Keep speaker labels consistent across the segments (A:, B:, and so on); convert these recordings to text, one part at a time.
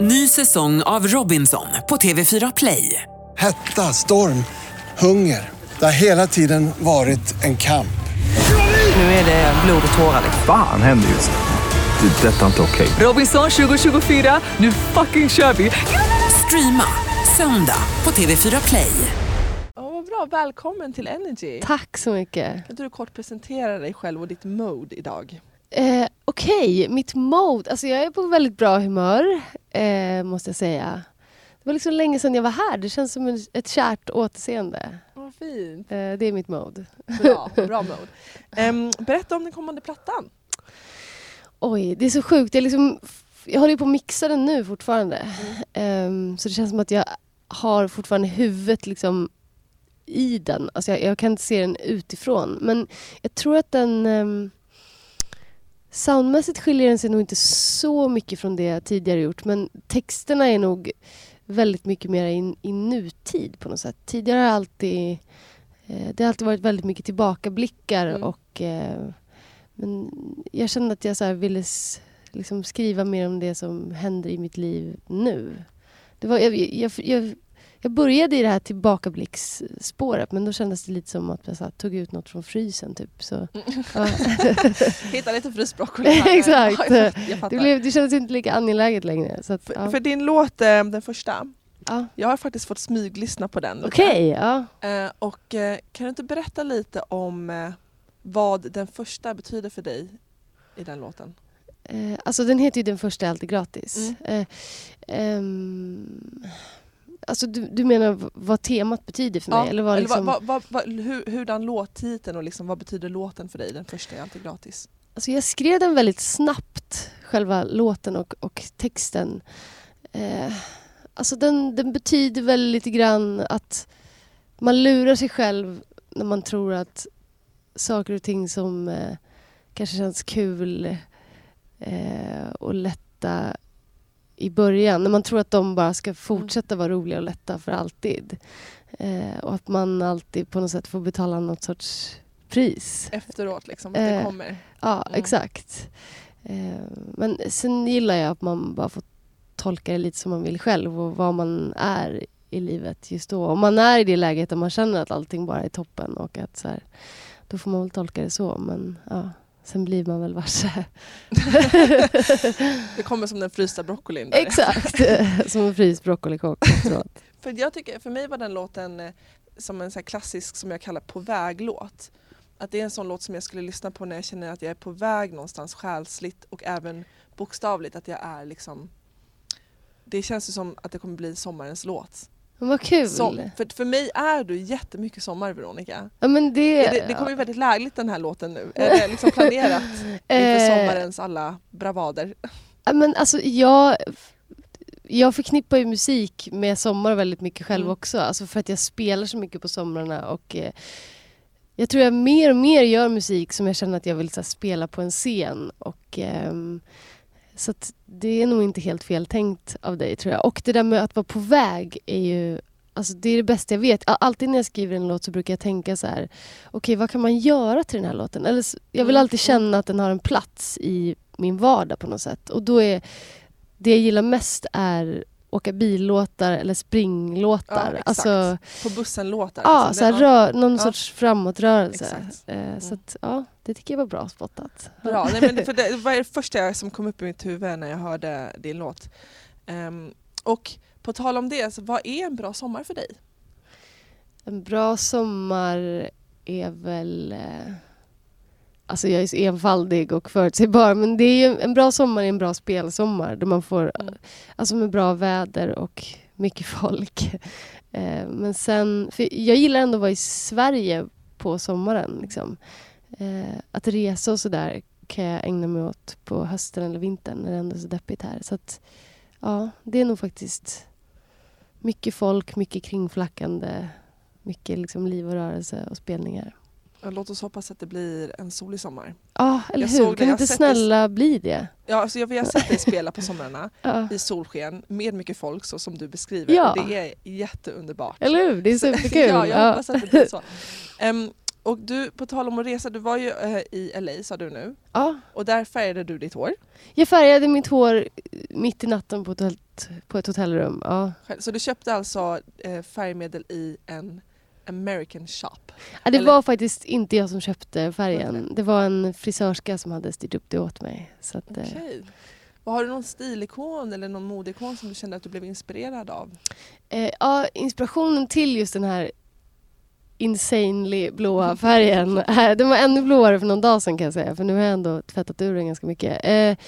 A: Ny säsong av Robinson på TV4 Play.
B: Hetta, storm, hunger. Det har hela tiden varit en kamp.
A: Nu är det blod och tårar.
C: Fan händer just nu. Det. är Detta är inte okej.
A: Robinson 2024, nu fucking kör vi! Streama söndag på TV4 Play.
D: Ja, vad bra, välkommen till Energy.
E: Tack så mycket.
D: Kan inte du kort presentera dig själv och ditt mode idag?
E: Eh, Okej, mitt mode. Alltså jag är på väldigt bra humör, eh, måste jag säga. Det var liksom länge sedan jag var här. Det känns som en, ett kärt återseende.
D: Vad fint.
E: Eh, det är mitt mode.
D: Bra, bra mode. Ehm, berätta om den kommande plattan.
E: Oj, det är så sjukt. Jag, liksom, jag håller ju på att mixa den nu fortfarande. Ehm, så det känns som att jag har fortfarande huvudet liksom i den. Alltså jag, jag kan inte se den utifrån. Men jag tror att den... ehm, soundmässigt skiljer den sig nog inte så mycket från det jag tidigare gjort. Men texterna är nog väldigt mycket mer i, i nutid på något sätt. Tidigare har jag alltid... Eh, det har alltid varit väldigt mycket tillbakablickar
D: Mm.
E: och... Eh, men jag kände att jag så här ville s- liksom skriva mer om det som händer i mitt liv nu. Det var, jag, jag, jag, jag började i det här tillbakablicksspåret men då kändes det lite som att jag så här, tog ut något från frysen. Typ. Så, ja,
D: Hitta lite frysbroccoli här.
E: Exakt.
D: Ja, jag fattar.
E: det, blev, det kändes inte lika angeläget längre. Så att,
D: för,
E: ja.
D: för din låt, eh, den första,
E: ja.
D: jag har faktiskt fått smyglyssna på den. lite.
E: Okej, ja.
D: Eh, och eh, kan du inte berätta lite om eh, vad den första betyder för dig i den låten?
E: Eh, alltså den heter ju Den första är alltid gratis.
D: Mm.
E: Eh, ehm, alltså du, du menar v- vad temat betyder för mig? eller vad, liksom,
D: vad, vad, vad, hur, hurdan låttiteln och liksom, vad betyder låten för dig? Den första är alltid gratis.
E: Alltså jag skrev den väldigt snabbt, själva låten och, och texten. Eh, alltså den, den betyder väl lite grann att man lurar sig själv när man tror att saker och ting som eh, kanske känns kul eh, och lätta i början, när man tror att de bara ska fortsätta vara roliga och lätta för alltid. Eh, och att man alltid på något sätt får betala något sorts pris.
D: Efteråt liksom, att det
E: Eh,
D: kommer.
E: Ja,
D: Mm.
E: exakt. Eh, Men sen gillar jag att man bara får tolka det lite som man vill själv och vad man är i livet just då. Om man är i det läget där man känner att allting bara är toppen och att så här, då får man väl tolka det så. Men ja, sen blir man väl varse.
D: Det kommer som den frysta broccolin. där.
E: exakt, som en fryst broccolikaka efteråt.
D: För, jag tycker, för mig var den låten eh, som en så här klassisk, som jag kallar på väg-låt. Att det är en sån låt som jag skulle lyssna på när jag känner att jag är på väg någonstans själsligt och även bokstavligt att jag är liksom det känns ju som att det kommer bli sommarens låt.
E: Men vad kul.
D: Som, för, för mig är du jättemycket sommar Veronica.
E: Ja, men det,
D: Det, det, det kommer ju väldigt lägligt den här låten nu. Är det liksom planerat inför
E: Eh,
D: sommarens alla bravader?
E: Ja, Men alltså, jag, jag förknippar ju musik med sommar väldigt mycket själv
D: Mm.
E: också. Alltså för att jag spelar så mycket på somrarna. Och, eh, jag tror jag mer och mer gör musik som jag känner att jag vill så här, spela på en scen. Och, ehm, så att det är nog inte helt fel tänkt av dig tror jag. Och det där med att vara på väg är ju Alltså det är det bästa jag vet. A- Alltid när jag skriver en låt så brukar jag tänka så här, okej vad kan man göra till den här låten? Eller, s- jag vill
D: Mm.
E: alltid känna att den har en plats i min vardag på något sätt. Och då är det jag gillar mest är åka billåtar eller springlåtar.
D: exakt.
E: alltså,
D: På bussen-låtar?
E: ja,
D: liksom.
E: så här,
D: Det-
E: rör, någon
D: Ja.
E: sorts framåtrörelse.
D: Exakt. Mm.
E: Eh, så att, ja, det tycker jag var bra spottat.
D: Bra, nej, men det- för det var det första jag- som kom upp i mitt huvud när jag hörde din låt. Ehm, och på tal om det, så vad är en bra sommar för dig?
E: En bra sommar är väl... eh, Alltså jag är så enfaldig och förutsägbar men det är ju en bra sommar är en bra spelsommar där man får
D: Mm.
E: alltså med bra väder och mycket folk. Eh, Men sen, för jag gillar ändå att vara i Sverige på sommaren. Liksom. Eh, Att resa och sådär kan jag ägna mig åt på hösten eller vintern när det ändå är så deppigt här. Så att, ja, det är nog faktiskt mycket folk, mycket kringflackande mycket liksom liv och rörelse och spelningar.
D: Ja, Låt oss hoppas att det blir en solig sommar.
E: Ja, eller
D: Jag
E: hur?
D: såg det,
E: Kan
D: jag
E: inte
D: har sett
E: snälla bli det?
D: Ja, alltså jag vi har sett dig spela på somrarna
E: Ja.
D: i solsken med mycket folk så som du beskriver.
E: Ja.
D: Och det är jätteunderbart.
E: Eller hur? Det är superkul.
D: ja, jag
E: ja.
D: hoppas att det blir så. Ehm, och du, på tal om att resa, du var ju eh, i LA sa du nu
E: Ja.
D: och där färgade du ditt hår.
E: Jag färgade mitt hår mitt i natten på ett helt ett, på ett hotellrum. Ja.
D: Själv. Så du köpte alltså eh, färgmedel i en American shop.
E: Ja, det
D: Eller-
E: var faktiskt inte jag som köpte
D: Var det
E: färgen. Det var en frisörska som hade styrt upp det åt mig. Så att, eh,
D: Okej. Vad Har du någon stilikon eller någon modeikon som du kände att du blev inspirerad av?
E: Eh, ja, inspirationen till just den här insanely blåa färgen. eh, den var ännu blåare för någon dag sedan kan jag säga, för nu har jag ändå tvättat ur den ganska mycket. Eh,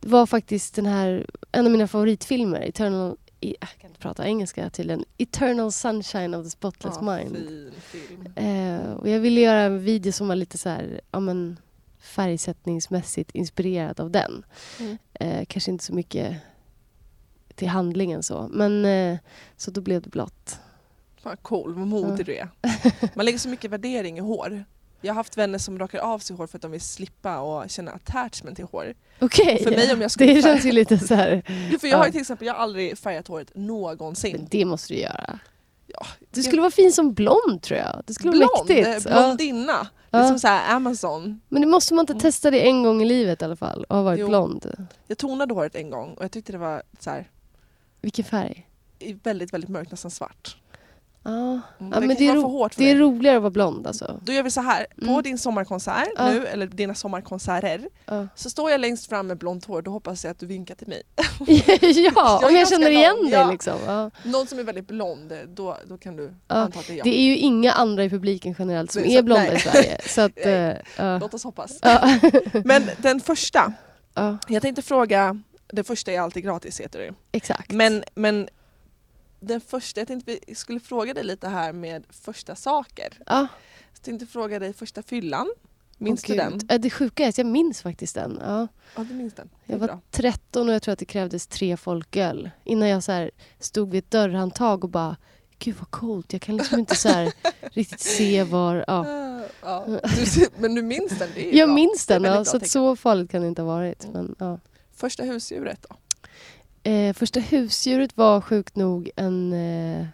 E: det var faktiskt den här, en av mina favoritfilmer, Eternal, i, äh, jag kan inte prata engelska tydligen, Eternal Sunshine of the Spotless
D: Ja,
E: Mind.
D: Fin film.
E: Eh, och jag ville göra en video som var lite så här, ja, men, färgsättningsmässigt inspirerad av den.
D: Mm.
E: Eh, kanske inte så mycket till handlingen så, men eh, så då blev det blått.
D: Fan cool, vad modig du är. Man lägger så mycket värdering i hår. Jag har haft vänner som rakar av sig hår för att de vill slippa och känna attachment till hår.
E: Okej,
D: För mig om jag skulle
E: Eh, det
D: färga-
E: känns ju lite så här,
D: Jo, För jag har ju
E: Ja.
D: till exempel, jag har aldrig färgat håret
E: men
D: någonsin.
E: det måste du göra.
D: Mm. Ja,
E: Du skulle vara fin som blond tror jag. Det skulle vara
D: blond,
E: mäktigt.
D: eh, blondinna. Det är
E: Ja.
D: som så här Amazon.
E: Men det måste man inte testa det en gång i livet i alla fall och ha varit
D: Jo.
E: blond.
D: Jag tonade håret en gång och jag tyckte det var så här,
E: Vilken färg?
D: i väldigt, väldigt mörkt, nästan svart.
E: Ja,
D: Mm,
E: ja
D: det
E: men
D: kanske
E: det är,
D: var
E: ro-
D: för hårt för
E: det är
D: dig.
E: roligare att vara blond alltså.
D: Då gör vi så här, på
E: Mm.
D: din sommarkonsert
E: Ja.
D: nu, eller dina sommarkonserter,
E: Ja.
D: så står jag längst fram med blont hår, då hoppas jag att du vinkar till mig.
E: ja,
D: Jag
E: om
D: är
E: jag
D: ganska
E: känner igen
D: lång,
E: dig
D: ja.
E: liksom. Ja.
D: Någon som är väldigt blond, då, då kan du
E: Ja,
D: anta att det är jag.
E: Det är ju inga andra i publiken generellt som
D: Nej,
E: är
D: så-
E: blonda
D: nej.
E: i Sverige. Så att, eh,
D: Nej.
E: ja.
D: Låt oss hoppas.
E: Ja,
D: Men den första,
E: ja,
D: jag tänkte fråga, den första är alltid gratis heter det
E: exakt.
D: men, men den första, jag tänkte vi skulle fråga dig lite här med första saker.
E: ja.
D: Jag tänkte fråga dig första fyllan, minns
E: Åh,
D: du
E: gud.
D: den?
E: Ja, det sjuka är att jag minns faktiskt den. Ja.
D: Ja du minns den, det
E: Jag
D: är
E: var
D: bra.
E: 13 och jag tror att det krävdes tre folköl innan jag så här stod vid ett dörrhandtag och bara Gud vad coolt, jag kan liksom inte så här riktigt se var... Ja.
D: Eh, Ja. Du, men du minns den, det är ju
E: Jag
D: bra.
E: minns
D: Det är
E: den, ja,
D: väldigt bra
E: så att
D: tecken.
E: så farligt kan det inte ha varit.
D: Mm.
E: Men, ja.
D: Första husdjuret då?
E: Eh, första husdjuret var sjukt nog en... Eh,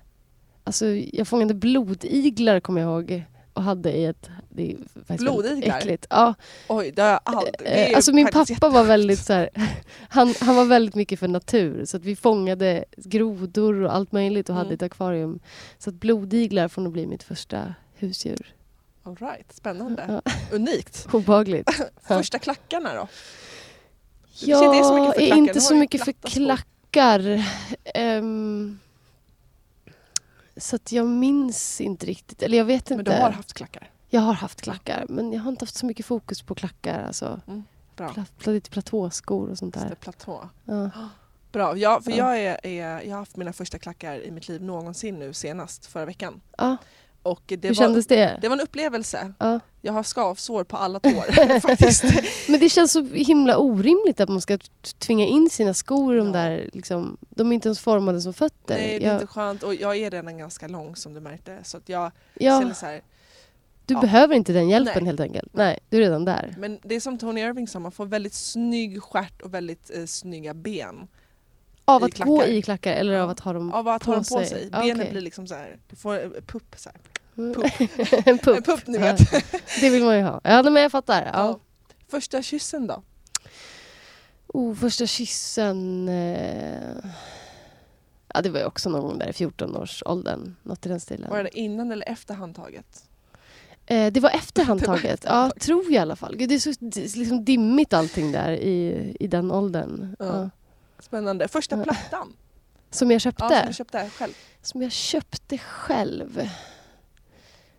E: alltså jag fångade blodiglar kommer jag ihåg och hade i ett... Det är faktiskt väldigt
D: Blodiglar?
E: äckligt. Ja,
D: Oj, det har jag aldrig. det är
E: eh,
D: ju
E: alltså min
D: faktiskt
E: pappa var väldigt så här, han, han var väldigt mycket för natur så att vi fångade grodor och allt möjligt och hade
D: Mm.
E: ett akvarium. Så att blodiglar får nog bli mitt första husdjur.
D: jätte- All right, spännande.
E: Ja.
D: Unikt.
E: Obehagligt.
D: Första klackarna då? Det
E: Jag
D: kanske inte är så mycket för klackar, du
E: inte
D: har
E: så
D: ju
E: mycket för
D: platta skor.
E: klackar. Ehm, så att jag minns inte riktigt. Eller jag vet inte.
D: Men du har haft klackar?
E: Jag har haft klackar, men jag har inte haft så mycket fokus på klackar. Alltså,
D: Mm, Bra.
E: pla- pla- lite platåskor och sånt där.
D: Just det, Platå.
E: Ja.
D: Bra, ja, för
E: Ja.
D: jag, är, är, jag har haft mina första klackar i mitt liv någonsin nu senast förra veckan.
E: Ja,
D: Och det,
E: hur
D: var,
E: kändes det?
D: det var en upplevelse.
E: Ja.
D: Jag har skavsår på alla tår faktiskt.
E: Men det känns så himla orimligt att man ska t- tvinga in sina skor i de
D: Ja.
E: där. Liksom, de är inte ens formade som fötter.
D: Nej, det är
E: jag,
D: inte skönt och jag är redan ganska lång som du märkte så att jag känner
E: jag,
D: så här.
E: du
D: ja.
E: behöver inte den hjälpen
D: Nej.
E: helt enkelt. Nej, du är redan där.
D: Men det är som Tony Irving sa, man får väldigt snygg stjärt och väldigt eh, snygga ben
E: Av
D: I
E: att gå
D: klackar.
E: i klackar eller
D: Ja.
E: av att ha dem
D: av att ha
E: På
D: dem på
E: sig.
D: sig.
E: Ja,
D: Benen
E: okej.
D: blir liksom så här, du får en pupp så här.
E: Mm.
D: Pupp.
E: en pupp.
D: En pupp ni
E: Ja.
D: vet.
E: Det vill man ju ha. Ja, nej, men jag fattar.
D: Ja.
E: Ja.
D: Första kyssen då?
E: Oh, första kyssen... Eh... Ja, det var ju också någon gång där i 14-årsåldern. Något i den stilen.
D: Var det innan eller efter handtaget?
E: Eh, det var efter handtaget. Ja, tror jag i alla fall. Gud, det är så det är liksom dimmigt allting där i, i den åldern.
D: Ja.
E: Ja.
D: Spännande. Första
E: Ja.
D: plattan?
E: Som jag köpte.
D: Ja, som du köpte själv.
E: som jag köpte själv.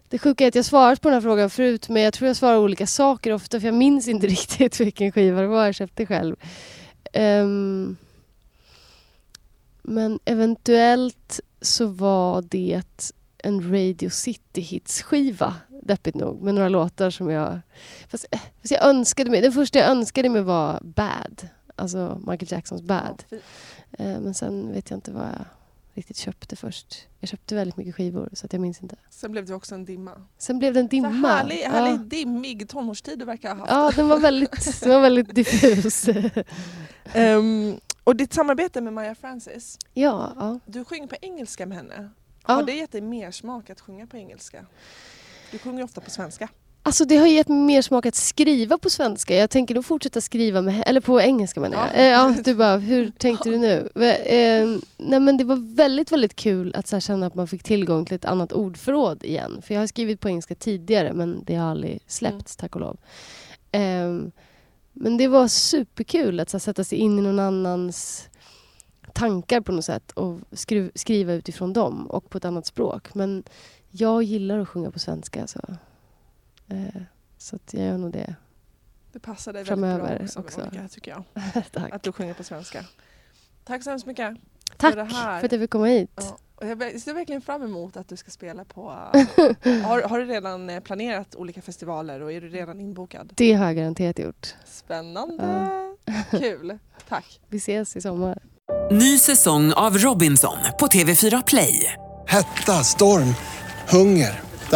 E: Det sjuka är att jag svarat på den här frågan förut men jag tror jag svarar olika saker ofta för jag minns inte riktigt vilken skiva det var jag köpte själv. Ehm, men eventuellt så var det en Radio City Hits-skiva, deppigt nog, med några låtar som jag... Fast, eh, fast jag önskade mig, den första jag önskade mig var Bad, alltså Michael Jacksons Bad.
D: Ja, fy-
E: Eh, Men sen vet jag inte vad jag riktigt köpte först. Jag köpte väldigt mycket skivor så att jag minns inte.
D: Sen blev det också en dimma.
E: Sen blev det en dimma.
D: Så härlig, härlig
E: ja.
D: dimmig tonårstid du verkar ha haft.
E: ja, den var väldigt, den var väldigt diffus.
D: Ehm, och ditt samarbete med Maya Francis,
E: ja, ja.
D: du sjöng på engelska med henne.
E: Ja.
D: Har det gett dig mer smak att sjunga på engelska? Du sjunger ju ofta på svenska.
E: Alltså det har gett mig mer smak att skriva på svenska. Jag tänker nog fortsätta skriva, med, eller på engelska menar jag.
D: Ja.
E: Ja. Eh, ja, du bara, hur tänkte du nu? Eh, eh, nej men det var väldigt, väldigt kul att så här känna att man fick tillgång till ett annat ordförråd igen. För jag har skrivit på engelska tidigare men det har aldrig släppts, tack och lov. Eh, men det var superkul att så här, sätta sig in i någon annans tankar på något sätt och skru- skriva utifrån dem och på ett annat språk. Men jag gillar att sjunga på svenska. Så, eh, så att jag gör nog det.
D: Det passar dig väldigt
E: Framöver
D: bra också,
E: också.
D: Veronica, tycker jag.
E: Tack.
D: Att du sjunger på svenska. Tack så hemskt mycket.
E: Tack
D: det här.
E: för att jag fick komma hit.
D: Ja. Och jag ver- ser verkligen fram emot att du ska spela på... har, har du redan eh, planerat olika festivaler och är du redan inbokad?
E: Det har jag garanterat gjort.
D: Spännande! Kul! Tack!
E: Vi ses i sommar.
A: Ny säsong av Robinson på TV4 Play.
B: Hetta, storm, hunger. Det